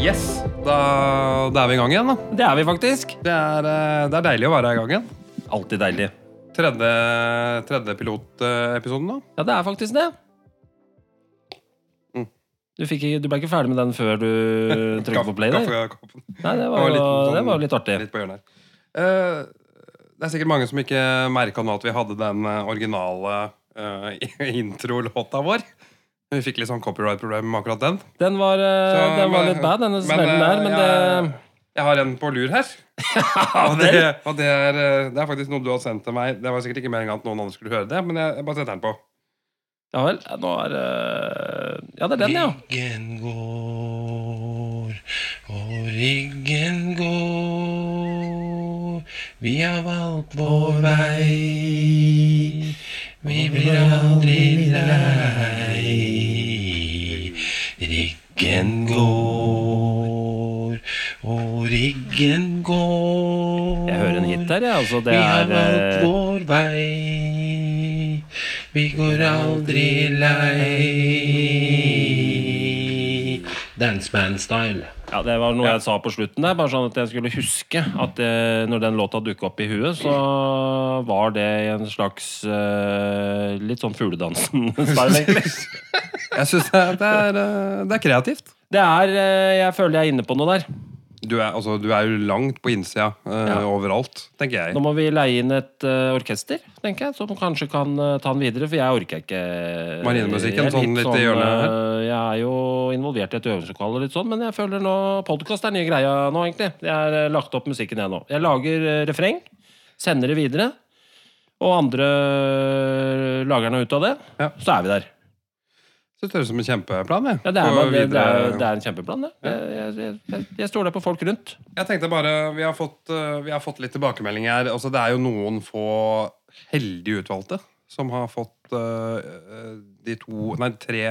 Yes, da, da er vi i gang igjen, da. Det er vi faktisk. Det er, eh, det er deilig å være i gang igjen. Alltid deilig. Tredje, tredje pilotepisoden, da. Ja, det er faktisk det. Mm. Du, fikk, ikke- du ble ikke ferdig med den før du trykket på play? Der. Kaffekoppen Nei, det Det var var, jo, litt sånn- det var jo litt artig. litt på hjørnet her. Eh, det er sikkert mange som ikke merka nå at vi hadde den eh, originale eh, introlåta vår. Vi fikk litt sånn copyright-problem med akkurat den. Den var, eh, Så, den var men- litt bad, denne men, smellen eh, der, men jeg- det Jeg har en på lur her. Og det, og det, er, eh, det er faktisk noe du har sendt til meg. Det var sikkert ikke meningen at noen andre skulle høre det, men jeg, jeg bare setter den på. Ja vel. Nå er eh, Ja, det er den, ja. Riggen går, og riggen går. Vi har valgt vår vei. Vi blir aldri lei. Riggen går, og riggen går. Jeg hører en hit der, jeg. Ja. Altså, det Vi har er valgt eh, vår vei. Vi går aldri lei. Danceman-style. Ja, det var noe jeg sa på slutten der, bare sånn at jeg skulle huske at det, når den låta dukket opp i huet, så var det en slags eh, litt sånn fugledansen-style, egentlig. Jeg syns det, det, er, eh, det er kreativt. Det er eh, Jeg føler jeg er inne på noe der. Du er, altså, du er jo langt på innsida eh, Ja. overalt, tenker jeg. Nå må vi leie inn et eh, orkester, tenker jeg, som kanskje kan eh, ta den videre, for jeg orker ikke eh, Marinemusikken, Jeg er sånn litt i hjørnet eh, Jeg er jo involvert i et øvingslokale og litt sånn, men jeg føler nå Podkast er nye greia nå, egentlig. Jeg har eh, lagt opp musikken, jeg nå. Jeg lager eh, refreng, sender det videre, og andre eh, lager noe ut av det. Ja. Så er vi der. Så det høres ut som en kjempeplan. Jeg. Ja, det, er, Og bare- det, det, videre- er, det er en kjempeplan, det. Jeg, jeg, jeg, jeg stoler på folk rundt. Jeg tenkte bare, vi har fått, eh, vi har fått litt tilbakemeldinger. Altså, det er jo noen få heldig utvalgte som har fått eh, eh, de to, nei, tre,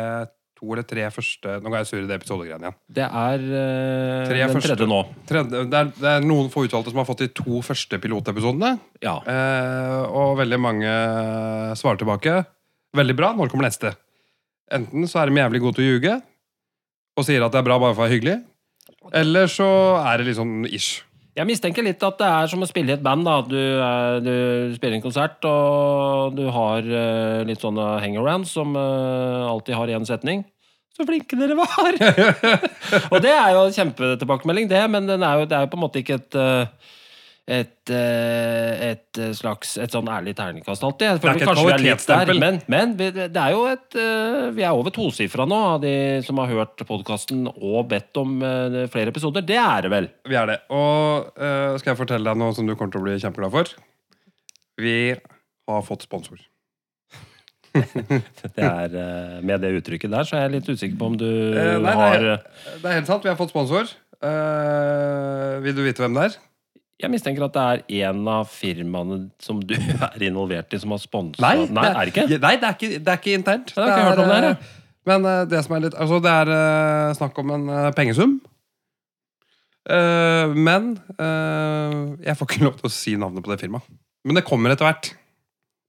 to eller tre første Nå ga jeg sur i det episodegreiene igjen. Det er eh, Tre den første. tredje nå. Tredje, det, er, det er noen få utvalgte som har fått de to første pilotepisodene. Ja. Eh, og veldig mange svarer tilbake. Veldig bra. Når kommer neste? Enten så er de jævlig gode til å ljuge og sier at det er bra bare for å være hyggelig, eller så er det litt sånn ish. Jeg mistenker litt at det er som å spille i et band. da Du, er, du spiller en konsert, og du har eh, litt sånne hangarounds som eh, alltid har én setning. Så flinke dere var! og det er jo en kjempetilbakemelding, det, men den er jo, det er jo på en måte ikke et eh, et, eh, et slags Et sånn ærlig terningkast alltid. Jeg føler Det er ikke et kanskje vi er litt der, kvalitetsstempel. men, men vi, det er jo et eh, Vi er over tosifra nå av de som har hørt podkasten og bedt om eh, flere episoder. Det er det vel? Vi er det. Og eh, skal jeg fortelle deg noe som du kommer til å bli kjempeglad for? Vi har fått sponsor. Det er, eh, med det uttrykket der, så er jeg litt usikker på om du Eh, nei, har det, er, det er helt sant. Vi har fått sponsor. Eh, vil du vite hvem det er? Jeg mistenker at det er en av firmaene som du er involvert i, som har sponsa er det ikke? Ja, Nei, det er ikke, det er ikke internt. Ja, det har ikke jeg hørt om det her, eh, Men eh, det som er litt Altså, det er eh, snakk om en eh, pengesum. Eh, men eh, jeg får ikke lov til å si navnet på det firmaet. Men det kommer etter hvert.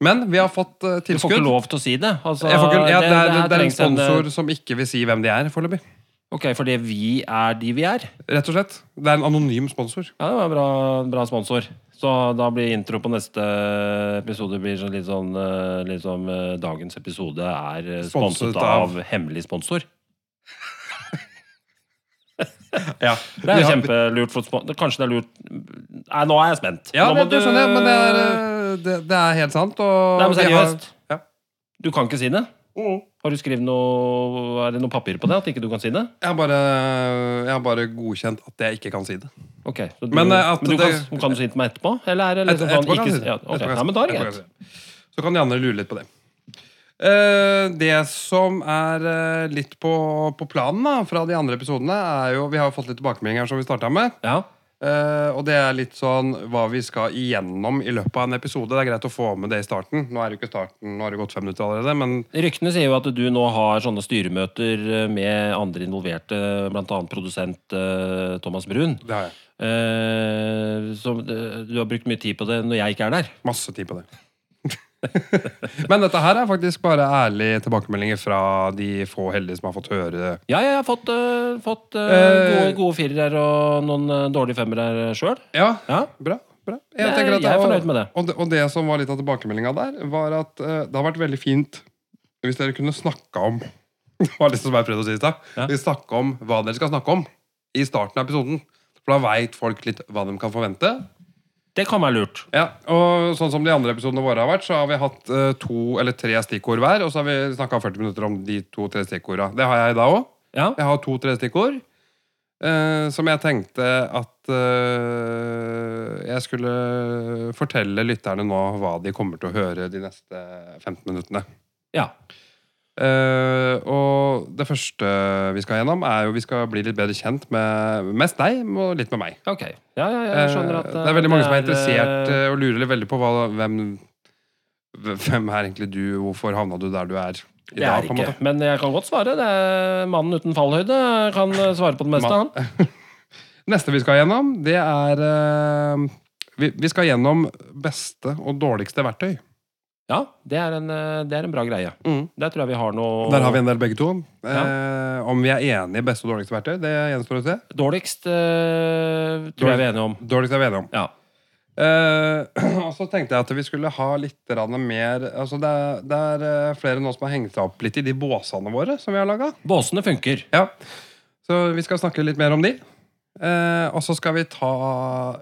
Men vi har fått eh, Du får ikke tilskudd. lov til å si det. Altså, Jeg får ikke, ja, det, er, her det er en trengs en, eh, sponsor som ikke vil si hvem de er, foreløpig. Ok, fordi vi er de vi er. Rett og slett. Det er en anonym sponsor. Ja, det var en bra, bra sponsor. Så da blir intro på neste episode blir sånn litt sånn eh, Litt som eh, dagens episode er eh, Sponset sponset av- av hemmelig sponsor. Ja, Det er jo kjempelurt. For, spon- Kanskje det er lurt Nei, nå er jeg spent. Ja, det, nå det skjønner jeg, men det er, eh, det, det er helt sant. Og Nei, men vi har- seriøst. Ja. Du kan ikke si det? Mm. Har du skrevet noe Er det noe papir på det? At ikke du kan si det? Jeg har bare, jeg har bare godkjent at jeg ikke kan si det. Ok, så du, Men, eh, at men du det- kan, kan du si det til meg etterpå? Eller er det Et- liksom sånn etterpå kan ikke, jeg si det. ja, ok. Etterpå kan jeg Nei, si men da er det Etterpå kan greit. jeg si det. Så kan de andre lure litt på det. Eh, det som er eh, litt på, på planen da, fra de andre episodene, er jo Vi har jo fått litt tilbakemeldinger som vi starta med. Ja. eh, og det er litt sånn hva vi skal igjennom i løpet av en episode. Det er greit å få med det i starten. Nå er det jo ikke starten, nå har det gått fem minutter allerede, men Ryktene sier jo at du nå har sånne styremøter eh, med andre involverte, bl.a. produsent eh, Thomas Brun. det har jeg. Eh, så eh, du har brukt mye tid på det når jeg ikke er der. Masse tid på det. Men dette her er faktisk bare ærlige tilbakemeldinger fra de få heldige som har fått høre det. Ja, jeg har fått, eh, fått eh, Eh, gode, gode firere og noen eh, dårlige femmere sjøl. Ja, Ja. Bra. bra. Jeg- tenker at jeg er og- fornøyd med det. Og det, og det som var litt av tilbakemeldinga der, var at eh, det har vært veldig fint hvis dere kunne snakka om Det var liksom som jeg prøvde å si i stad. Ja. Vi snakker om hva dere skal snakke om i starten av episoden. For da veit folk litt hva de kan forvente. Det kan være lurt. Ja, og sånn som de andre episodene våre har vært, så har vi hatt eh, to eller tre stikkord hver, og så har vi snakka 40 minutter om de to-tre stikkorda. Det har jeg i dag òg. Ja. Jeg har to-tre stikkord eh, som jeg tenkte at eh, jeg skulle fortelle lytterne nå hva de kommer til å høre de neste 15 minuttene. ja. Eh, og det første vi skal gjennom, er jo vi skal bli litt bedre kjent med mest deg og litt med meg. Ok. Ja, ja, jeg skjønner at Eh, det er veldig mange som er interessert eh, eh, og lurer litt veldig på hva, hvem, hvem er egentlig du, hvorfor havna du der du er i Det er dag? på en ikke. måte. Men jeg kan godt svare. Det er mannen uten fallhøyde. Jeg Kan eh, svare på det meste, Mann- han. Neste vi skal gjennom, det er eh, vi, vi skal gjennom beste og dårligste verktøy. Ja, det er, en, eh, det er en bra greie. Mm. Der tror jeg vi har noe Der har vi en del begge to. Eh, om vi er enige i beste og dårligste verktøy, det gjenstår å se. Dårligst eh, tror jeg vi er enige om. Dårligste er vi enige om. Ja. Eh, og så tenkte jeg at vi skulle ha litt grann mer altså det, er, det er eh, flere nå som har hengt seg opp litt i de båsene våre som vi har laga. Båsene funker. Ja. Så vi skal snakke litt mer om de. Eh, og så skal vi ta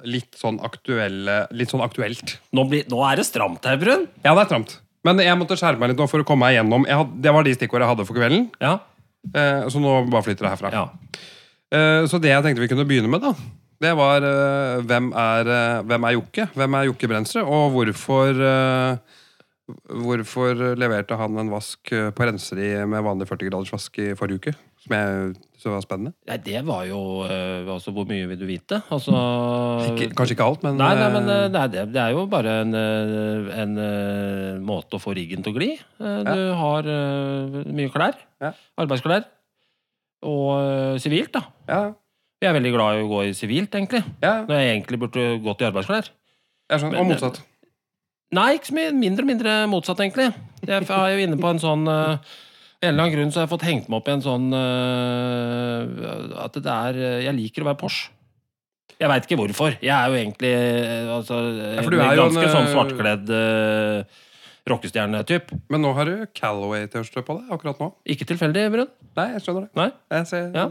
litt sånn aktuelle Litt sånn aktuelt. Nå, blir, nå er det stramt her, Brun. Ja, det er stramt. Men jeg måtte skjerpe meg litt nå for å komme meg gjennom. Jeg had, det var de stikkordene jeg hadde for kvelden. Ja. Eh, så nå bare flytter det herfra. ja. Eh, så det jeg tenkte vi kunne begynne med, da, det var eh, hvem, er, eh, hvem er Jokke? Hvem er Jokke Brensrud? Og hvorfor eh, Hvorfor leverte han en vask eh, på renseri med vanlig 40 graders vask i forrige uke? Som jeg syntes var spennende. Nei, det var jo eh, Altså, hvor mye vil du vite? Altså Ikke, kanskje ikke alt, men Nei, nei, men eh, eh, det er, det- det er jo bare en, eh, en eh, måte å få ryggen til å gli. Eh, Du har eh, mye klær. Ja. Arbeidsklær. Og eh, sivilt, da. ja, Jeg er veldig glad i å gå i sivilt, egentlig. ja, Når jeg egentlig burde gått i arbeidsklær. jeg skjønner. Og Men- motsatt. Nei, ikke så mye. Mindre og mindre motsatt, egentlig. Jeg er jo inne på en sånn eh, Av en eller annen grunn så har jeg fått hengt meg opp i en sånn eh, At det er eh, Jeg liker å være Porsche. Jeg veit ikke hvorfor. Jeg er jo egentlig eh, altså, Ja, for en du er jo en, ganske sånn eh, svartkledd uh, rockestjerne-typ. Men nå har du Calaway-T-skjorte på deg akkurat nå. Ikke tilfeldig, Brun. Nei, jeg skjønner det. Nei? Jeg ser, Ja.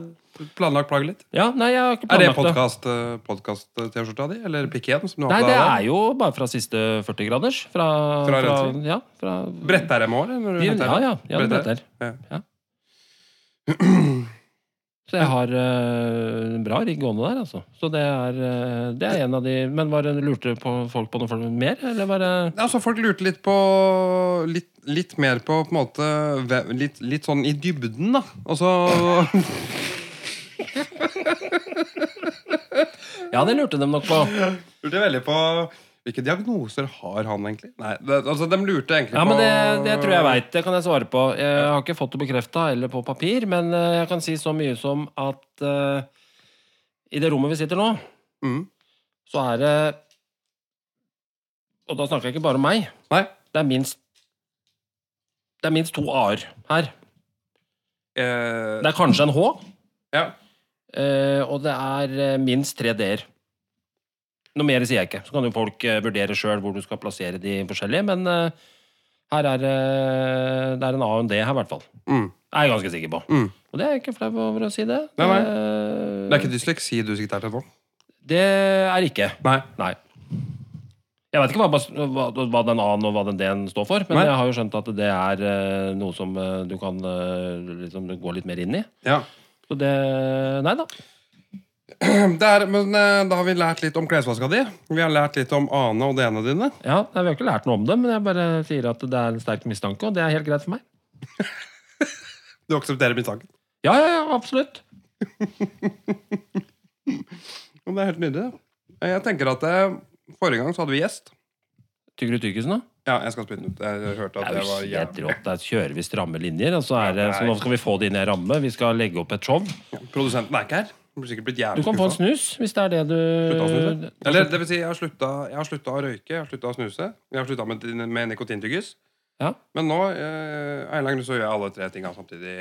Planlagt plagg litt. Ja, nei, jeg har ikke Er det planlagt det. podkast-T-skjorta di, eller pikéen? som du Nei, har på det deg? er jo bare fra siste 40-graders. Fra, Fra fra, Rødsli? ja, fra Bretter dem også, eller? når du Ja, henter ja. dem? ja, ja det Bretter. bretter. Ja. Ja. Så jeg har eh, en bra rigg gående der, altså. Så det er, eh, det er en av de Men var det lurte på folk på noe for- mer, eller var det Altså, folk lurte litt på Litt, litt mer på, på en måte ve- litt, litt sånn i dybden, da. Altså, Og så Ja, det lurte de nok på. lurte jeg veldig på Hvilke diagnoser har han, egentlig? Nei, det, altså, De lurte egentlig Ja, på men det, det tror jeg veit. Det kan jeg svare på. Jeg har ikke fått det bekrefta eller på papir, men eh, jeg kan si så mye som at eh, i det rommet vi sitter nå, Mm. så er det Og da snakker jeg ikke bare om meg. Nei. Det er minst Det er minst to a-er her. Eh, Det er kanskje en H, ja. eh, og det er eh, minst tre D-er. Noe mer sier jeg ikke. Så kan jo folk eh, vurdere sjøl hvor du skal plassere de forskjellige, men eh, her er eh, det er en A og en D her, i hvert fall. Mm. Det er jeg ganske sikker på. Mm. Og det er jeg ikke flau over å si det. Nei, nei. Eh, Det er ikke dysleksi du sitter her til nå? det er ikke. Nei. Nei. Jeg veit ikke hva, hva, hva den A-en og hva den D-en står for, men Nei. jeg har jo skjønt at det er eh, noe som eh, du kan eh, liksom, gå litt mer inn i. Ja. Så det Nei da. Det er, men eh, da har vi lært litt om klesvaska di. Vi har lært litt om Ane og D-ene dine. Ja, nei, Vi har ikke lært noe om det, men jeg bare sier at det er en sterk mistanke, og det er helt greit for meg. Du aksepterer mistanken. Ja, ja, ja, absolutt. Og Det er helt nydelig. Eh, Jeg tenker at eh, Forrige gang så hadde vi gjest. Tygger du tyggisen, da? Ja, jeg skal spytte den ut. Jeg hørte at Det er det jo var helt jævlig. rått. Der kjører vi stramme linjer. Og så, er det, Ja, så nei. nå skal vi få det inn i en ramme. Vi skal legge opp et show. Produsenten er ikke her. Du blir sikkert blitt jævlig Du kan få en skuffa. snus, hvis det er det Slutta å du snuse. Eller det vil si, jeg har slutta, jeg har slutta å røyke, jeg har slutta å snuse, jeg har slutta med, med nikotintyggis. Ja. Men nå eh, av en eller annen grunn så gjør jeg alle tre tinga samtidig.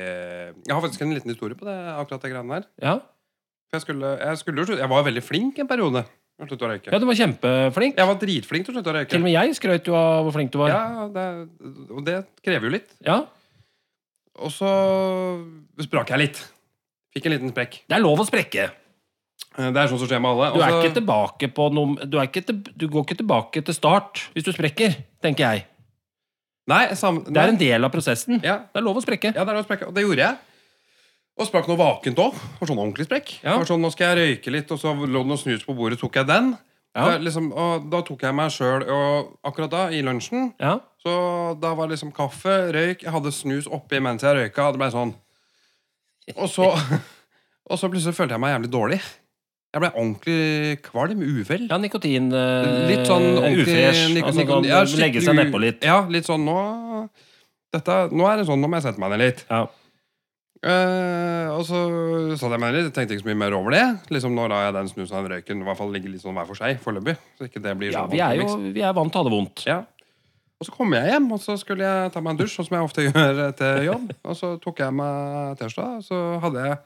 Jeg har faktisk en liten historie på det. akkurat det greiene der. Ja. For jeg, skulle, jeg, skulle, jo slutte- jeg var veldig flink en periode. Jeg slutta å røyke. ja, du var kjempeflink. Jeg var dritflink til å slutte å røyke. Til og med jeg skrøt jo av hvor flink du var. Ja, det, Og det krever jo litt. Ja. Og så sprakk jeg litt. Fikk en liten sprekk. Det er lov å sprekke. Eh, Det er sånn som skjer med alle. Du er Og så- ikke tilbake på noe du, er ikke til, du går ikke tilbake til start hvis du sprekker, tenker jeg. Nei, sam, Det er nei. en del av prosessen. ja, Det er lov å sprekke. Ja, det er å sprekke, og det gjorde jeg. Og sprakk noe vakent òg. Sånn ordentlig sprekk. Ja. Det var Sånn, nå skal jeg røyke litt, og så lå det noe snus på bordet, tok jeg den. Ja. Det er liksom, og da tok jeg meg sjøl, og akkurat da, i lunsjen, Ja. så da var det liksom kaffe, røyk, jeg hadde snus oppi mens jeg røyka, det blei sånn. Og så, og så plutselig følte jeg meg jævlig dårlig. Jeg blei ordentlig kvalm, uvel. ja, nikotin eh, Litt sånn ordentlig Ufresh. nik- altså, nikon- kan ja, skikkelig- legge seg nedpå litt. Ja, litt sånn nå dette, Nå er det sånn, nå må jeg sette meg ned litt. Ja. Eh, og så satt jeg meg ned, tenkte ikke så mye mer over det. Liksom Nå lar jeg den snusa og den røyken i hvert fall ligge litt sånn hver for seg foreløpig. Så ikke det blir Ja, sånn vi er ordentlig jo miks. vi er vant til å ha det vondt. ja. Og så kom jeg hjem, og så skulle jeg ta meg en dusj, sånn som jeg ofte gjør etter jobb. Og så tok jeg meg tirsdag, og så hadde jeg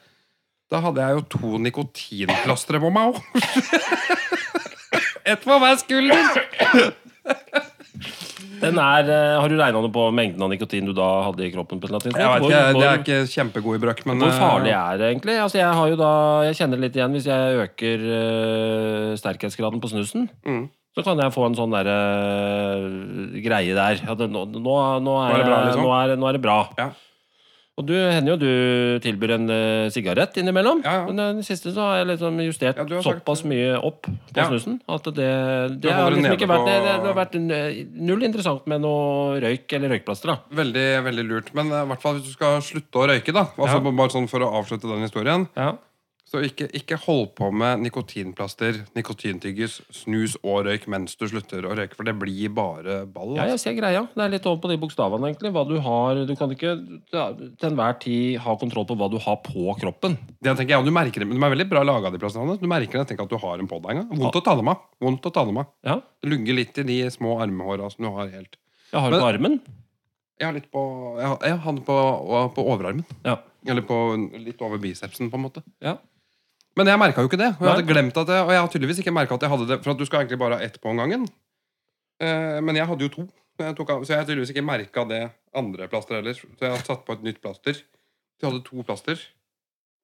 Da hadde jeg jo to nikotinplastre på meg òg. Ett på hver skulder. Den er, eh, har du regna noe på mengden av nikotin du da hadde i kroppen? på et eller annet tidspunkt? Jeg vet Hvor- ikke, hvor- det er ikke kjempegod i brøk, men Hvor farlig eh, er det egentlig? Altså, jeg, har jo da, jeg kjenner det litt igjen hvis jeg øker øh, sterkhetsgraden på snusen. Mm. Så kan jeg få en sånn der, øh, greie der. At det- nå, nå, nå, er, Nå er det bra, liksom? nå, er, nå er det bra. Ja. Og du hender jo du tilbyr en øh, sigarett innimellom. Ja, ja. Men eh, den siste så har jeg liksom justert Ja, du har sagt- såpass mye opp på Ja. snusen at det, Du det, har holder liksom nede ikke på- vært, det, det, har vært n- eh, null interessant med noe røyk eller røykplaster. da. Veldig, veldig lurt. Men eh, i hvert fall hvis du skal slutte å røyke, da. Altså, Ja. Bare sånn for å avslutte den historien. Ja. Så ikke, ikke hold på med nikotinplaster, nikotintyggis, snus og røyk mens du slutter å røyke, for det blir bare ball. Ja, jeg ser greia. Det er litt over på de bokstavene, egentlig. Hva du har Du kan ikke ja, til enhver tid ha kontroll på hva du har på kroppen. Det tenker jeg, og du merker det, men De er veldig bra laga, de plastene. Du merker nesten ikke at du har en på deg engang. Vondt å ta dem av. Vondt å ta dem av. Ja. Det lugger litt i de små armhåra som du har helt Jeg har Men- det på armen. Jeg har litt på Jeg har, jeg har den på, på overarmen. Ja. Eller på litt over bicepsen, på en måte. Ja. Men jeg merka jo ikke det. Og jeg hadde Nei. glemt at jeg, og jeg har tydeligvis ikke merket at jeg hadde det. For at du skal egentlig bare ha ett på en gangen. Eh, men jeg hadde jo to. Så jeg, tok av, så jeg har tydeligvis ikke merka det andre plasteret heller. Så jeg har satt på et nytt plaster. Så jeg hadde to plaster.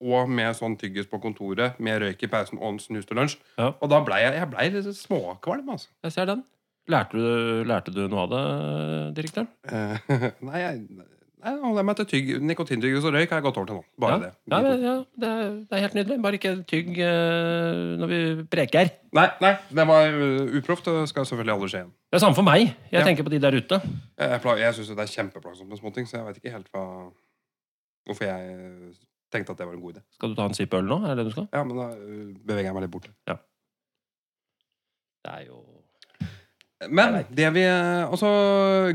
Og med sånn tyggis på kontoret, med røyk i pausen og en snus til lunsj. Ja. Og da blei jeg, jeg blei litt småkvalm, altså. Jeg ser den. Lærte du, lærte du noe av det, direktøren? Eh, nei, jeg nei, nå holder jeg meg til tygg, nikotintyggis og røyk har jeg gått over til nå. Bare ja. det. Ja, men- ja, det, er, det er helt nydelig. Bare ikke tygg eh, når vi preker. Nei, nei, det var uh, uproft. Det skal selvfølgelig aldri skje igjen. Det er samme for meg. Jeg Ja. tenker på de der ute. Jeg, jeg, pla- jeg syns det er kjempeplagsomt med småting, så jeg veit ikke helt hva Hvorfor jeg eh, tenkte at det var en god idé. Skal du ta en sipp øl nå? Er det det du skal? Ja, men da eh, beveger jeg meg litt bort. Det er jo Men det vi eh, Altså,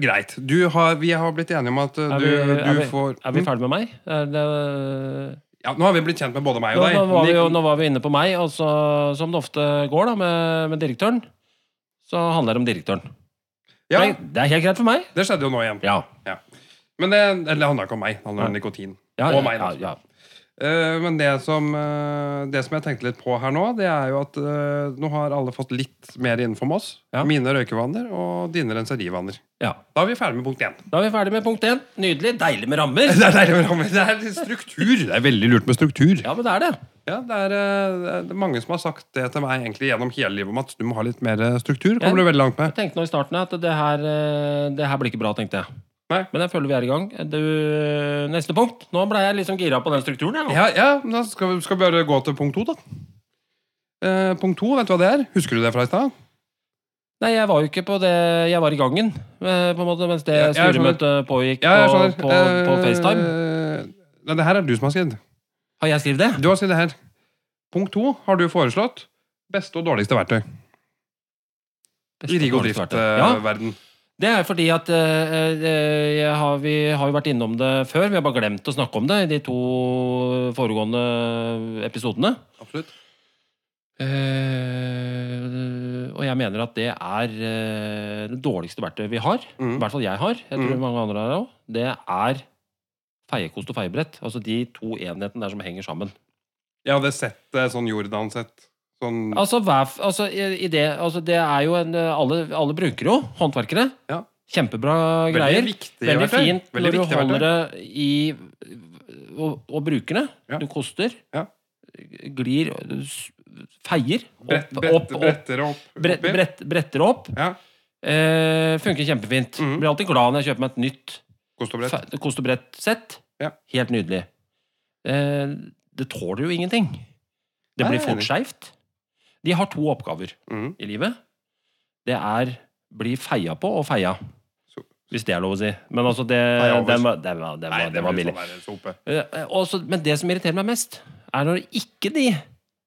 greit. Du har, vi har blitt enige om at eh, Er du, vi- er du vi- får Er vi Mm. ferdig med meg? Er det Ja, Nå har vi blitt kjent med både meg Nå, og deg. nå, var vi, jo- Nik- nå var vi inne på meg, og så, som det ofte går da med, med direktøren, så handler det om direktøren. ja, Nei, Det er helt greit for meg. det skjedde jo nå igjen. Ja. Men det, eller det handla ikke om meg. Det handla om nikotin. ja, Og ja, meg, da. ja, ja. Eh, men det som, eh, det som jeg tenkte litt på her nå, det er jo at eh, nå har alle fått litt mer innenfor oss. Ja. Mine røykevaner og dine renserivaner. Ja. Da er vi ferdig med punkt én. Da er vi ferdig med punkt én. Nydelig. Deilig med rammer. Det er, deilig med rammer. det er litt struktur. Det er veldig lurt med struktur. Ja, men det er det. Ja, det er, eh, det er mange som har sagt det til meg egentlig gjennom hele livet, Mats. Du må ha litt mer eh, struktur. Ja. Kommer du veldig langt Jeg med. tenkte nå i starten at det her, eh, det her blir ikke bra, tenkte jeg. Nei. Men jeg føler vi er i gang. Du, neste punkt. Nå ble jeg liksom gira på den strukturen. Jeg, nå. Ja, ja men da skal vi, skal vi bare gå til punkt to, da. Eh, punkt to, vet du hva det er? Husker du det fra i stad? Nei, jeg var jo ikke på det Jeg var i gangen, eh, på en måte, mens det Ja, jeg skjønner. styremøtet pågikk Ja, jeg på, skjønner. på, på Eh, FaceTime. Nei, det her er du som har skrevet. Har jeg skrevet det? Du har skrevet her. Punkt to har du foreslått. Beste og dårligste verktøy i rigordriftverden. Ja, eh, verden Det er fordi at eh, eh, jeg har, vi har jo vært innom det før. Vi har bare glemt å snakke om det i de to foregående episodene. Absolutt. Eh, og jeg mener at det er eh, det dårligste verktøyet vi har. I Mm. hvert fall jeg har. Jeg tror Mm. mange andre har det òg. Det er feiekost og feiebrett. Altså de to enhetene der som henger sammen. Jeg hadde sett det sånn Jordan-sett. Sånn Altså, hver, f- altså, i i det, altså det er jo en alle, alle bruker jo håndverkere. Ja. Kjempebra veldig greier. viktig Veldig verktøy. fint Veldig når du viktig holder verktøy. det i og, og bruker det. Ja. Du koster. Ja. Glir s- Feier. Brett, Opp, brett, opp, opp. bretter opp. Brett, oppi. brett, bretter opp. Ja. Eh, funker kjempefint. Mhm. Blir alltid glad når jeg kjøper meg et nytt Kost og brett. fe- kost og brett sett. Ja. Helt nydelig. Eh, det tåler jo ingenting. Det Nei, jeg blir er fort enig. skeivt. De har to oppgaver Mhm. i livet. Det er bli feia på og feia. Så- Hvis det er lov å si. Men altså, det, Feia over. den var, den var, den var, Nei, den var blir billig. sånn der sope. Eh, og så- men det som irriterer meg mest, er når ikke de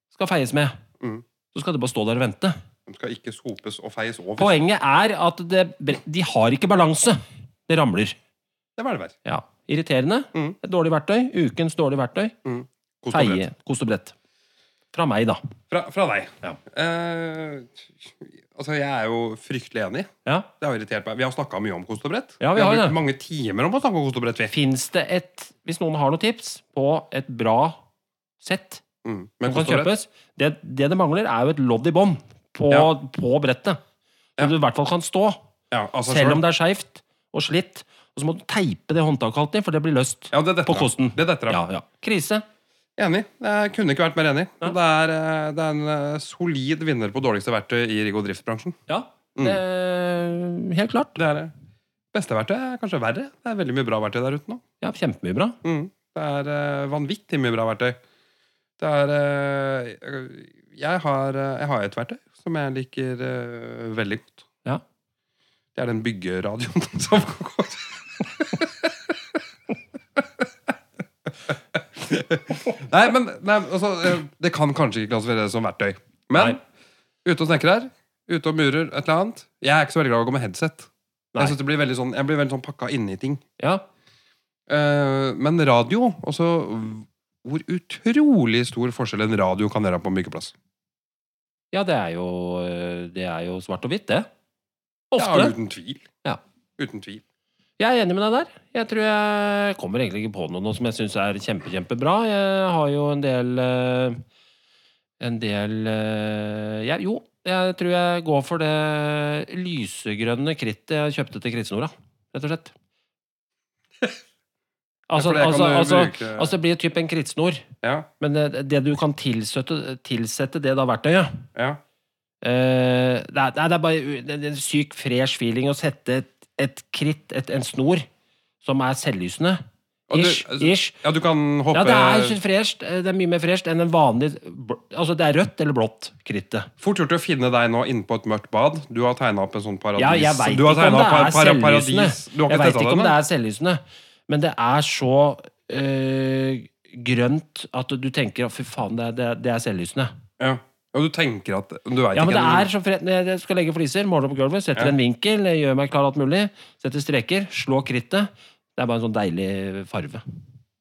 skal feies med. Mhm. Så skal de bare stå der og vente. De skal ikke sopes og feies over. Poenget er at det, de har ikke balanse. Det ramler. Det var det verre. Ja. Irriterende. Mhm. Et dårlig verktøy. Ukens dårlig verktøy. Kost og brett. Feie. Kost og brett. Fra meg, da. Fra, fra deg. Ja. Eh, altså, jeg er jo fryktelig enig. Ja. Det har irritert meg. Vi har snakka mye om kost og brett. Ja, vi har har det. brukt mange timer om å snakke om kost og brett. Vi. Fins det et Hvis noen har noen tips på et bra sett Mm. som Men kan kost og brett kjøpes Det det, det mangler, er jo et lodd i bånd på, Ja. på brettet. Ja. Som du i hvert fall kan stå, ja, altså, selv om det er skeivt og slitt. Og så må du teipe det håndtaket alltid, for det blir løst ja, det detter på av. kosten. Det detter av. Ja, ja. Krise. Enig. Jeg kunne ikke vært mer enig. Ja. Det, er, eh, det er en eh, solid vinner på dårligste verktøy i rigg- og driftsbransjen. Ja. Mm. Det, eh, helt klart. Det er det. Beste verktøy er kanskje verre. Det er veldig mye bra verktøy der ute nå. Ja, Kjempemye bra. Mm. Det er eh, vanvittig mye bra verktøy. Det er eh, jeg, har, eh, jeg har et verktøy som jeg liker eh, veldig godt. Ja. Det er den byggeradioen som går. nei, men nei, altså, eh, det kan kanskje ikke klassifiseres som verktøy. Men Nei. ute og snekrer, ute og murer, et eller annet. Jeg er ikke så veldig glad i å gå med headset. Nei. Jeg, synes det blir veldig sånn, jeg blir veldig sånn pakka inni ting. Ja. Eh, men radio også, Hvor utrolig stor forskjell en radio kan gjøre på en byggeplass. Ja, det er jo, eh, det er jo svart og hvitt, det. Ja, Ofte. uten tvil. Ja. Uten tvil. Jeg er enig med deg der. Jeg tror jeg kommer egentlig ikke på noe, nå som jeg syns er kjempe, kjempebra. Jeg har jo en del eh, En del eh, jeg, Jo, jeg tror jeg går for det lysegrønne krittet jeg kjøpte til krittsnora, rett og slett. Altså, for det kan altså, du altså, bruke- altså det blir typ en krittsnor, Ja, men det, det du kan tilsette, tilsette det da verktøyet ja. Eh, det, er, nei, det er bare u- det er en syk fresh feeling å sette et, et kritt, et, en snor, som er selvlysende. Og du- Ish. altså, ish. ja, du kan hoppe Ja, det er så fresht. eh, Det er mye mer fresht enn en vanlig bl- Altså, det er rødt eller blått krittet. Fort gjort å finne deg nå inne på et mørkt bad. Du har tegna opp en sånn paradis. Ja, jeg veit Du har ikke om det tegnet opp er par- para- selvlysende. paradis. Du har Jeg ikke vet testa ikke det? om det nå? er selvlysende, men det er så eh, grønt at du tenker at fy faen, det er, det er- det er selvlysende. Ja. ja, du tenker at Du veit Ja, men ikke. det men- er så fred... Når Jeg skal legge fliser, måle opp gulvet, setter Ja. en vinkel, gjør meg klar alt mulig, setter streker, slår krittet. Det er bare en sånn deilig farve.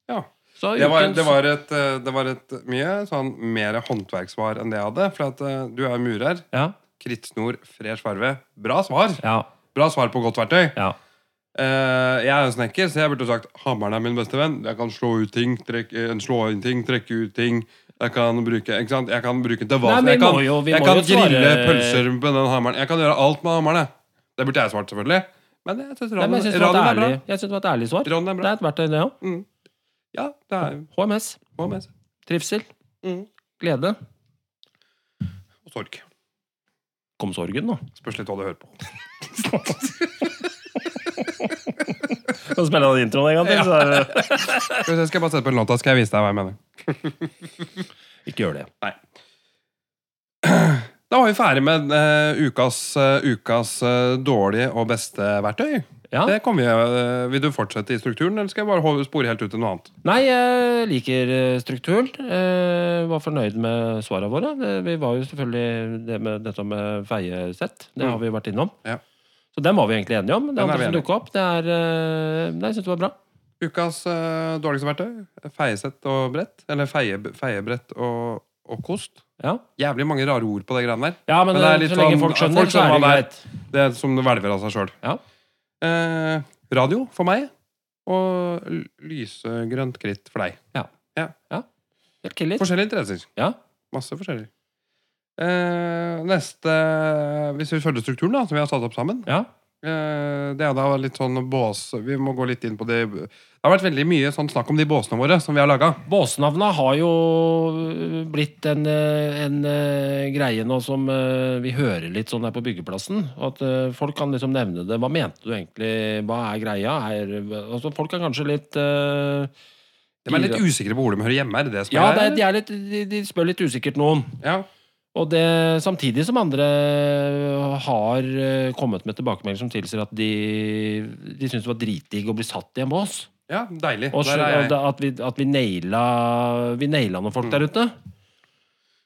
Ja. Så Det var, ukens- det, var et, eh, det var et mye sånn mer håndverksvar enn det jeg hadde. For at eh, du er murer. Ja, Krittsnor, fresh farve. Bra svar! ja, Bra svar på godt verktøy. ja. Eh, jeg er jo snekker, så jeg burde jo sagt hammeren er min beste venn. Jeg kan slå ut ting, trekke, eh, slå inn ting, trekke ut ting. Jeg kan bruke ikke sant? Jeg kan bruke den til hva Nei, som- men Jeg vi kan, må jo- vi jeg må kan jo svare- grille pølser med den hammeren. Jeg kan gjøre alt med hammeren. jeg. Det burde jeg svart, selvfølgelig. Men jeg syns Nei, men radioen, jeg syns det, var radioen et er bra. ærlig- jeg synes det var et ærlig svar. Radioen er Det bra. er et verktøy, det òg. Ja, det er HMS. hva med seg. Trivsel. Mm. Glede. Og sorg. Kom sorgen, nå. Spørs litt hva du hører på. Kan spille den introen en gang til, så er det Skal vi se, skal jeg bare sette på en låt, da skal jeg vise deg hva jeg mener. Ikke gjør det. Da var vi ferdig med eh, ukas, eh, ukas eh, dårlige og beste verktøy. Ja. Det kommer vi, eh, vil du fortsette i strukturen, eller skal jeg bare holde- spore helt ut til noe annet? Nei, jeg liker eh, strukturen. Eh, var fornøyd med svarene våre. Eh, Vi var jo selvfølgelig det med, dette med feiesett. Det har vi vært innom. Mm. Ja. Så den var vi egentlig enige om. Det Den er andre vi som enige dukket opp, det er eh, Nei, jeg synes det var bra. Ukas eh, dårligste verktøy? Feiesett og brett? Eller feie, feiebrett og, og kost? Ja, Jævlig mange rare ord på de greiene der. ja men, Men det er eh, litt så lenge sånn- folk skjønner, folk så er skjønner det hva greit. Det er som det hvelver av seg sjøl. Ja. Eh, radio for meg, og l- lysegrønt kritt for deg. Helt tillit. Forskjellige interesser. Ja. Masse forskjellig. Eh, neste Hvis vi følger strukturen, da, som vi har satt opp sammen Ja. eh, Det er da litt sånn bås Vi må gå litt inn på det Det har vært veldig mye sånn snakk om de båsene våre som vi har laga. Båsnavna har jo blitt en, eh, en eh, greie nå som eh, vi hører litt sånn her på byggeplassen. og At eh, folk kan liksom nevne det. Hva mente du egentlig? Hva er greia? Er, altså, folk er kanskje litt eh, De er litt usikre på hvor de hører hjemme. Er det det som Ja, er det greia, er, de, er litt, de, de spør litt usikkert noen. Ja. Og det samtidig som andre har eh, kommet med tilbakemeldinger som tilsier at de, de syns det var dritdigg å bli satt i en bås. ja, deilig. Og Der så- er og jeg. da- at vi, at vi, naila, vi naila noen folk der ute.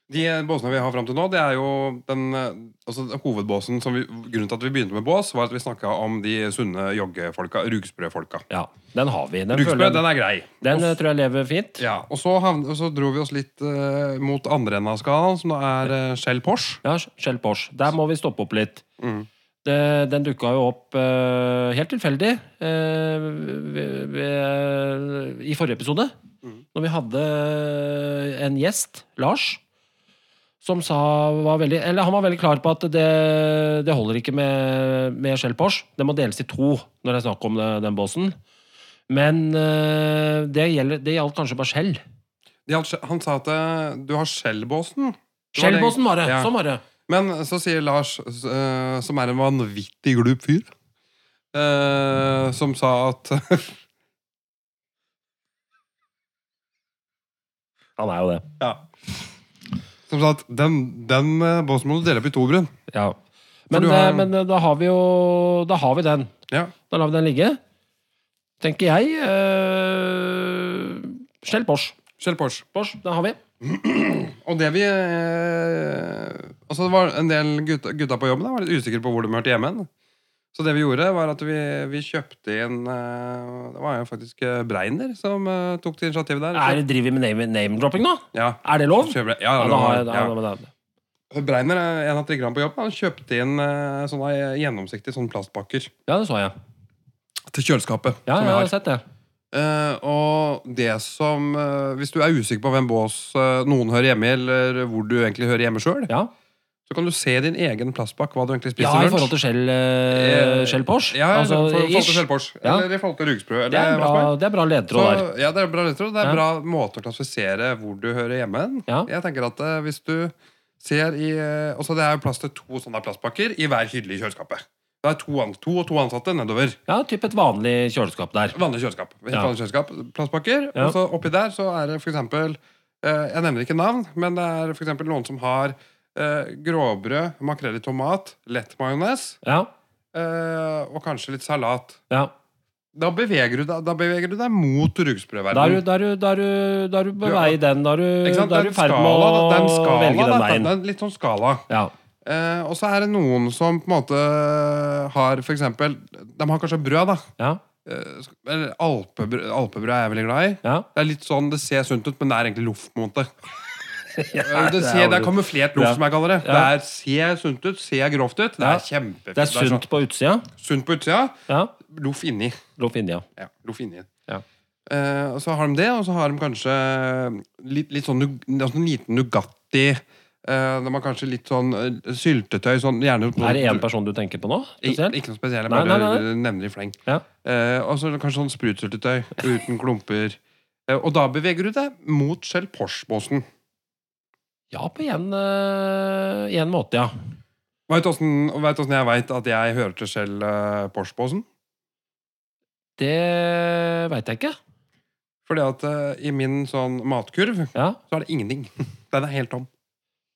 De båsene vi har fram til nå, det er jo den eh, altså, hovedbåsen som vi, Grunnen til at vi begynte med bås, var at vi snakka om de sunne joggefolka, rugsprø-folka. Ja, den har vi. Den, Rugsprø, føler, den, den er grei. eh, tror jeg lever fint. Ja, og så, havn- og så dro vi oss litt eh, mot andre enden av skalaen, som da er eh, Shell Porsche. Ja, Shell Porsche. Der må vi stoppe opp litt. Mm. Det, den dukka jo opp eh, helt tilfeldig eh, ved, ved, i forrige episode. Mm. Når vi hadde en gjest, Lars, som sa var veldig, Eller han var veldig klar på at det, det holder ikke med, med Shell Porsche. Det må deles i to når det er snakk om det, den båsen. Men eh, det, gjelder, det gjaldt kanskje bare Shell. De hadde, Shell- han sa at eh, du har Shell-båsen. Det var det- Shell-båsen var det! Ja. Sånn var det. Men så sier Lars, s- eh, som er en vanvittig glup fyr, eh, som sa at Han er jo det. Som sa at den, den eh, båsen må du dele opp i to, Brun. Ja. Men, du har- eh, men da har vi jo Da har vi den. Ja. Da lar vi den ligge. Tenker jeg. Uh, Shell Bosch. Shell Porsche. Bosch, den har vi. Og det vi eh, Altså det var en del gutta, gutta på jobben da, var litt usikre på hvor de hørte hjemme. hen. Så det vi gjorde, var at vi, vi kjøpte inn eh, Det var jo faktisk eh, Breiner som eh, tok til initiativet der. Er, driver vi med name- name-dropping nå? ja. Er det lov? Kjøper- Ja, ja, Sånn? Ja, da har jeg, det da, var- da, ja. da, da. Breiner er en av trikkerne på jobb. Han kjøpte inn eh, sånne gjennomsiktige sånne plastpakker ja, det så jeg. til kjøleskapet. Ja, som jeg vi har. har sett det. Eh, og det som eh, Hvis du er usikker på hvem bås eh, noen hører hjemme i, eller hvor du egentlig hører hjemme sjøl, Ja, så kan du se i din egen plastpakk hva du egentlig spiser ja i forhold til Shell, eh, Eh, Shell Bosch. Ja, Altså, for, for, for, ish. selvpors, Ja. Eller i forhold til rugsprø. det, er Eller, en hva som bra, helst. det er bra så, ledetråd der. ja, det er bra lettere, og det er Ja. bra måte å klassifisere hvor du hører hjemme. hen. Ja. Jeg tenker at eh, hvis du ser i eh, også Det er jo plass til to sånne plastpakker i hver hylle i kjøleskapet. Det er to, an- to og to ansatte nedover. Ja, typ et vanlig kjøleskap der. Vanlig kjøleskap. Helt Ja. vanlig kjøleskap. Plastpakker. Ja. Og så oppi der så er det for eksempel eh, Jeg nevner ikke navn, men det er for eksempel noen som har eh, gråbrød, makrell i tomat, lett majones Ja, eh, og kanskje litt salat. ja. Da beveger du deg, da beveger du deg mot Da er du, rugsprøverdenen. da er du, da er du, da er du på vei i den. Da er Ikke du, sant? da er en du i ferd med skala, da. Det er en å skala, velge den da. veien. Det er litt sånn skala. Ja. Eh, og så er det noen som på en måte eh, har for eksempel De har kanskje brød, da. Ja. Eh, eller alpebrød, alpebrød er jeg veldig glad i. Ja. Det er litt sånn, det ser sunt ut, men det er egentlig loffmonte. Ja, Eh, det, ser, det er kamuflert loff, Ja. som jeg kaller det. Det Ja. er, ser sunt ut, ser grovt ut. Det Ja. er kjempefint. Det er sunt på utsida. sånn, sunt på utsida, Ja. loff inni. Loff inni, ja. Ja, loff inni. Ja. Eh, og så har de det, og så har de kanskje litt, litt sånn nug- altså en liten Nugatti. Eh, de har kanskje litt sånn eh, syltetøy. Sånn, gjerne, Er det én person du tenker på nå? Ikke, Spesielt? ikke noe spesielt, jeg Nei, bare nei, nevner i fleng. Ja. Eh, og så kanskje sånn sprutsyltetøy uten klumper. Eh, og da beveger du deg mot Shell Porsche-båsen. Ja, på en, eh, en måte, ja. Veit du åssen jeg veit at jeg hører til Shell eh, Porsche-båsen? Det veit jeg ikke. Fordi at eh, i min sånn matkurv Ja, så er det ingenting. Den er helt tom.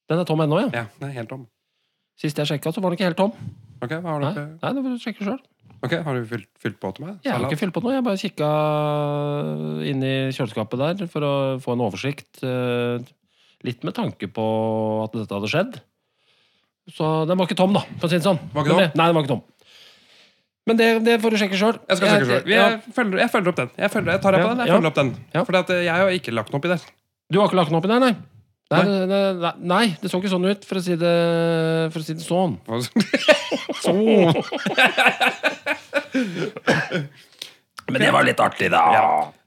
Den er tom ennå, ja. Ja, den er helt tom. Sist jeg sjekka, så var den ikke helt tom. Ok, hva har du, Nei, ikke- Nei det får du sjekke sjøl. Ok, har du fylt, fylt på til meg? Jeg har Salat? ikke fylt på noe. Jeg bare kikka inn i kjøleskapet der for å få en oversikt. eh, Litt med tanke på at dette hadde skjedd. Så den var ikke tom, da, for å si det sånn. Var ikke tom? Nei, den var ikke tom. Men det, det får du sjekke sjøl. Jeg skal sjekke selv. Vi- Ja, Jeg, følger, jeg følger opp den. Jeg følger, jeg tar deg på Ja, den. Jeg ja. følger opp den. Ja. Fordi at eh, jeg har ikke lagt den opp i der. du har ikke lagt den opp i deg, nei? Nei, Nei. det- det- nei, nei, det så ikke sånn ut, for å si det, for å si det sånn. sånn. Men det var litt artig, da.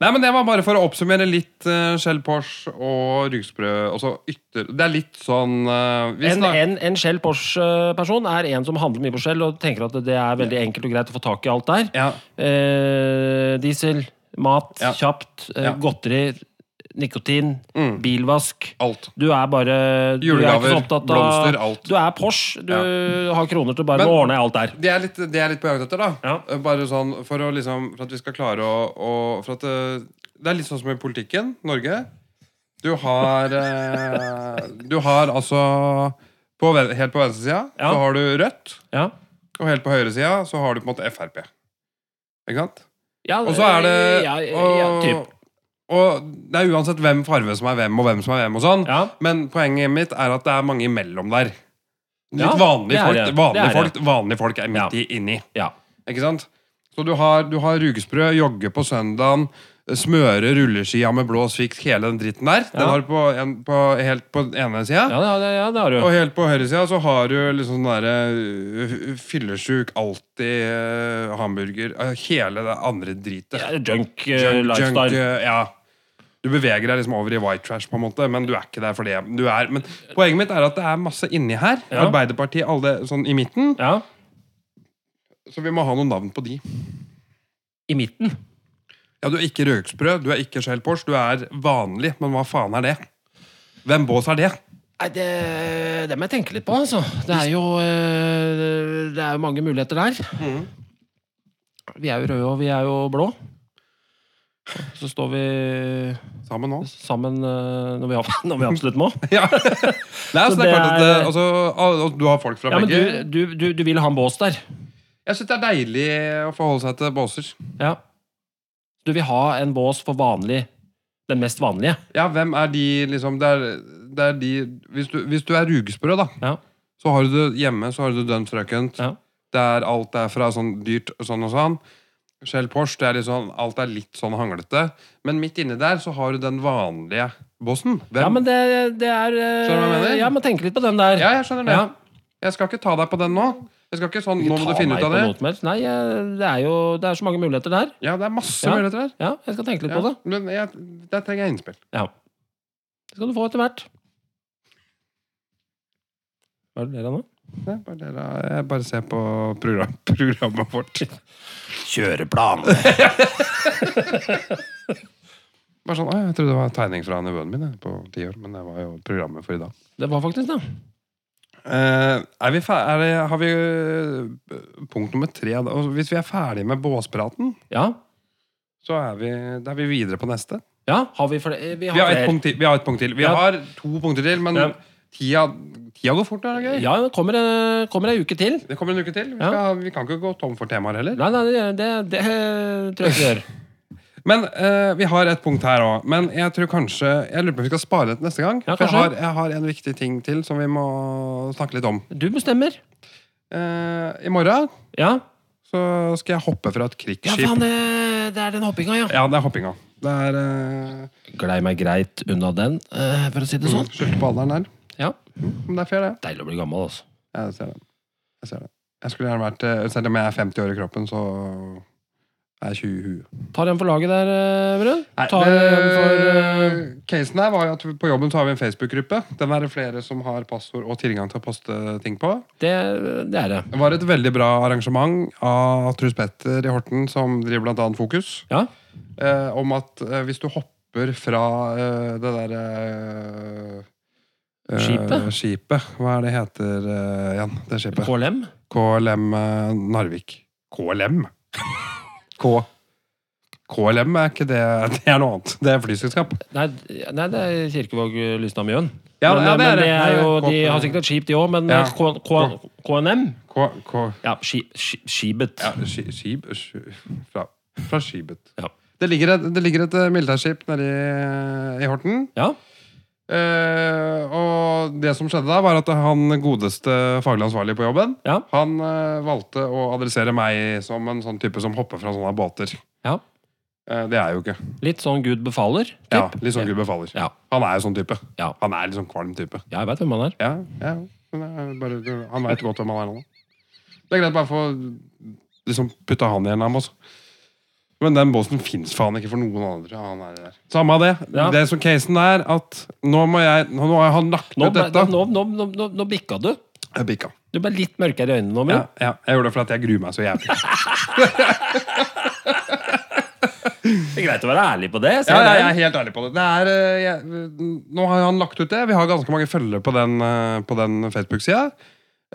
Nei, men Det var bare for å oppsummere litt eh, Shell Porsche og rugsprø. og så ytter, det er litt sånn eh, vi En, snak- en, en Shell Porsche-person er en som handler mye på Shell og tenker at det er veldig enkelt og greit å få tak i alt der. ja, Eh, diesel, mat, Ja. kjapt, eh, Ja. godteri, nikotin, Mm. bilvask. alt. Du er bare du er ikke Julegaver, så opptatt av- blomster, alt. Du er Porsche. Du har kroner til bare Men- å ordne alt der. Det er litt, det er litt på jakt etter, da. Ja. Eh, Bare sånn for, å liksom, for at vi skal klare å, å For at eh, Det er litt sånn som i politikken. Norge. Du har eh, Du har altså på, ven- Helt på venstresida Ja. så har du Rødt, Ja. og helt på høyresida så har du på en måte Frp. Ikke sant? Ja, Og så er det ja, eh, ja, ja, og, typ. og det er uansett hvem farve som er hvem, og hvem som er hvem. og sånn ja. Men poenget mitt er at det er mange imellom der. Litt Ja, det vanlige er folk. det. Vanlige, Det er det. folk vanlige folk er midt Ja. i inni. ja. Ikke sant? Så du har, du har rugesprø, jogge på søndagen, eh, smøre rulleskia med blå svikt, hele den dritten der. Den Ja. har du på, en, på, helt på den ene sida. Ja, ja, ja, det har du. Og helt på høyresida så har du liksom sånn derre øh, fyllesjuk, alltid øh, hamburger øh, Hele det andre dritet. Ja, junk, eh, Junk- lifestyle. junk, eh, ja. Du beveger deg liksom over i white trash, på en måte, men du er ikke der for det. Du er, men poenget mitt er at det er masse inni her. Ja. Arbeiderpartiet, alle sånn i midten. ja. Så vi må ha noen navn på de. I midten. Ja, Du er ikke røksprø, du er ikke Shell Porsche, du er vanlig, men hva faen er det? Hvem bås er det? Nei, det, det må jeg tenke litt på, altså. Det er jo, eh, det er jo mange muligheter der. Mm. Vi er jo røde, og vi er jo blå. Så står vi Sammen nå. sammen eh, når vi, av- når vi absolutt må. Ja. Nei, altså, det det er klart at er- eh, altså, al- Du har folk fra Ja, men begge. du, du, du, du vil ha en bås der. Jeg syns det er deilig å forholde seg til båser. Ja. Du vil ha en bås for vanlig Den mest vanlige. Ja, hvem er de, liksom Det er, det er de Hvis du, hvis du er rugesprø, da, Ja. så har du det hjemme, så har du det dønn strøkent. Ja. Det er alt er fra sånn dyrt og sånn og sånn. Shell Porsche, det er litt sånn, alt er litt sånn hanglete. Men midt inni der så har du den vanlige bossen. Hvem? Ja, men det, det er eh, Skjønner du hva jeg mener? Ja, men tenk litt på den der. Ja, jeg skjønner det. Ja. Jeg skal ikke ta deg på den nå. Jeg skal ikke sånn, Ikke nå må ta du finne meg ut av på det. noe som helst. Nei, eh, det er jo det er så mange muligheter der. Ja, det er masse Ja. muligheter her. Ja, jeg skal tenke litt Ja, på det. men jeg, der trenger jeg innspill. Ja. Det skal du få etter hvert. Hva er det du ler av nå? Det er bare, det da. jeg bare ser på program, programmet vårt. Kjøreplan. Bare sånn, «Å, Jeg trodde det var en tegning fra nevøen min jeg, på ti år, men det var jo programmet for i dag. Det var faktisk det. Eh, er vi fer er det, har vi eh, punkt nummer tre? da? Og hvis vi er ferdig med båspraten, Ja. så er vi, da er vi videre på neste. ja har vi, flere? vi Vi har flere. ett punkt til. Vi har, et punkt til. Vi Ja. har to punkter til, men Ja. tida, tida går fort. Er det, gøy? Ja, det kommer, eh, kommer ei uke til. det kommer en uke til. Vi, Ja. skal, vi kan ikke gå tom for temaer heller. Nei, nei, det, det, det eh, tror jeg ikke vi gjør. Men eh, vi har et punkt her òg. Men jeg tror kanskje Jeg lurer på om vi skal spare det til neste gang. Ja, for jeg kanskje. har, jeg har en viktig ting til som vi må snakke litt om. Du bestemmer. Eh, I morgen Ja. så skal jeg hoppe fra et Ja, krigsskip. faen, eh, det er den hoppinga, ja. Ja, det er hoppinga. Det er uh, Glei meg greit unna den, eh, for å si det sånn. Skjønte mm, på alderen der. Mm, Ja. Men det er fair, det. Deilig å bli gammel, altså. Ja, Jeg ser det. Jeg ser det. Jeg skulle gjerne vært eh, Selv om jeg er 50 år i kroppen, så er jeg 20 i huet. Tar en for laget der, eh, Brun. Nei, Tar en for eh, det- Casen her var jo at vi- på jobben så har vi en Facebook-gruppe. Den er det flere som har passord og tilgang til å poste ting på. det, det er det. Det var et veldig bra arrangement av Truls Petter i Horten, som driver blant annet Fokus. Ja. eh, om at eh, hvis du hopper fra eh, det derre eh, eh, Skipet? Skipet. Hva er det heter eh, igjen? Det skipet. KLM. KLM eh, Narvik. KLM? K... KLM er ikke det Det er noe annet. Det er flyselskap. Nei, d- nei, det er Kirkevåg eh, Lystad Mjøen. Ja, men, ja, det det er men det. det er jo, Nei, de K- har sikkert et skip, de òg, men Ja. eh, K, K, KNM K... K Ja, skip, skip, skibet. ja, ski- skib, sk- fra, fra Skibet. Ja. Det ligger et, det ligger et eh, militærskip nede i, i Horten. Ja. Eh, og det som skjedde da, var at han godeste faglig ansvarlig på jobben, Ja. han eh, valgte å adressere meg som en sånn type som hopper fra sånne båter. Ja. Eh, det er jeg jo ikke. Litt sånn Gud befaler? typ. Ja, litt sånn Gud befaler. Ja. Han er jo sånn type. Ja. Han er litt sånn kvalm type. Ja, Jeg veit hvem han er. Ja, ja. Men det er bare, det- han veit godt hvem han er nå. Det er greit bare å få liksom, putta han i en ham også. Men den båsen fins faen ikke for noen andre. Han er der. Samme av det. Ja. Det som casen er, at nå må jeg Nå har han lagt Nå, ned ble, dette. nå, nå, nå, nå, nå bikka du. Jeg bikka. Du ble litt mørkere i øynene Ja, nå, Emil. ja, jeg gjorde det fordi jeg gruer meg så jævlig. Det er greit å være ærlig på det. Ja, ja, jeg er helt ærlig på det. det er, eh, jeg, nå har han lagt ut det. Vi har ganske mange følgere på den, eh, på den Facebook-sida.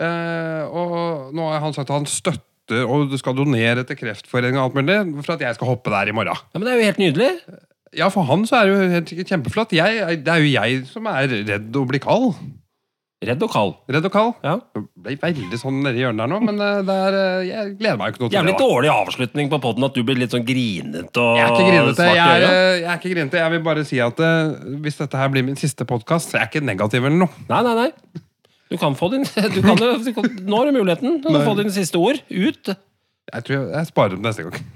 Eh, og nå har han sagt at han støtter og du skal donere til Kreftforeningen og alt mulig for at jeg skal hoppe der i morgen. Ja, men det er jo helt nydelig. Ja, for han så er det jo helt kjempeflott. Jeg, det er jo jeg som er redd å bli kald. Redd og kald. Redd og kald. Ja. Jeg ble veldig sånn nedi hjørnet der nå, men eh, det er, eh, jeg gleder meg jo ikke noe til Jævlig det. da. dårlig avslutning på podden at du blir litt sånn grinete eh, og Jeg er ikke grinete. svart i Jeg er, eh, øya. jeg er ikke grinete. Jeg vil bare si at eh, hvis dette her blir min siste podkast, er jeg ikke negativ eller noe. Nei, nei, nei. Du kan få din du kan, jo- du kan, Nå har du muligheten til å Nei. få dine siste ord ut. Jeg tror jeg, jeg sparer dem neste gang.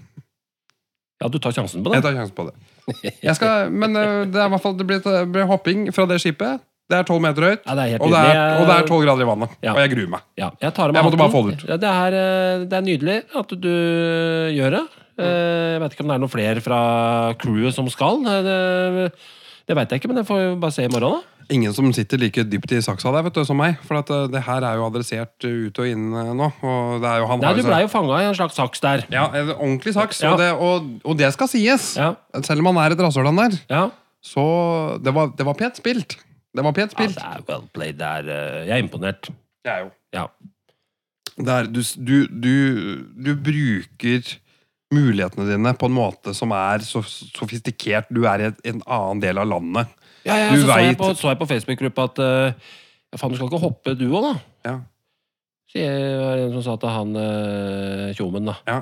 Ja, du tar sjansen på det. Jeg tar sjansen på det. Jeg skal, men eh, det er i hvert fall det blir, det blir hopping fra det skipet. Det er tolv meter høyt, Ja, det er helt og det er, nydelig. og det er tolv grader i vannet. Ja. Og jeg gruer meg. Ja, jeg tar av meg Jeg måtte bare hatten. få det ut. Ja, det, er, eh, det er nydelig at du gjør det. Eh, Jeg vet ikke om det er noen flere fra crewet som skal. Eh, Det, det veit jeg ikke, men det får vi bare se i morgen, da. Ingen som sitter like dypt i saksa der vet du, som meg. For at eh, det her er jo adressert eh, ut og inn eh, nå. Og det er jo, han Nei, har du jo blei så- jo fanga i en slags saks der. ja, en ordentlig saks, Ja. og, det, og, og det skal sies. Ja, Selv om han er et rasshøl, han der. ja. Så det var, det var pent spilt. Det var pent ja spilt. det er well played. Det er, eh, jeg er imponert. Det er jo Ja. det er, du, du, du, du bruker mulighetene dine på en måte som er så sofistikert. Du er i et, en annen del av landet. Ja, ja, Du så, så, jeg vet- på, så jeg på Facebook-gruppa at eh, ja, faen, du skal ikke hoppe du òg, da. Ja. Sier var det en som sa til han eh, tjomen, da. Ja.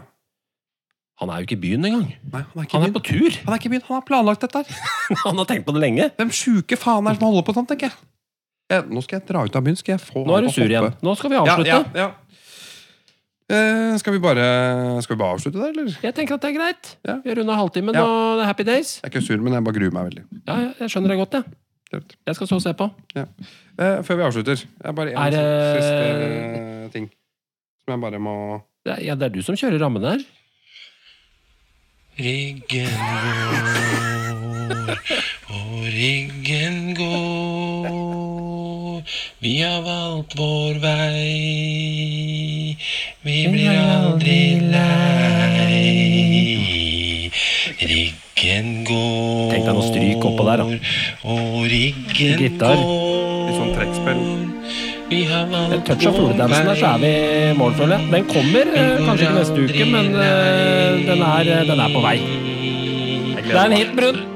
Han er jo ikke i byen engang. Nei, han er ikke Han i er byen. på tur! Han er ikke i byen. Han har planlagt dette her. Han har tenkt på det lenge. Hvem sjuke faen er det som holder på sånn, tenker jeg. jeg. Nå skal jeg dra ut av byen. Skal jeg få Nå er du sur igjen. Nå skal vi avslutte. Ja, ja, ja. Eh, skal, vi bare, skal vi bare avslutte der, eller? Jeg tenker at det er greit. Ja. Vi er unna halvtimen, Ja. og det er happy days. Jeg er ikke sur, men jeg bare gruer meg veldig. Ja, ja, jeg skjønner det godt, jeg. Greit. Jeg skal så se på. Ja. Eh, før vi avslutter, jeg har bare Er eh, en det- siste ting som jeg bare må Det er, ja, det er du som kjører rammene her. Riggen går, og riggen går. Vi har valgt vår vei. Vi blir aldri lei. Riggen går. Tenk deg noe stryk oppå der, da. Og riggen Gitar. går. Litt sånn trekkspill. Vi har valgt Et touch av vår fugledansen der, så er vi i mål, føler jeg. Den kommer eh, kanskje ikke neste uke, men eh, den, er, den er på vei. Det er en hit, Brun.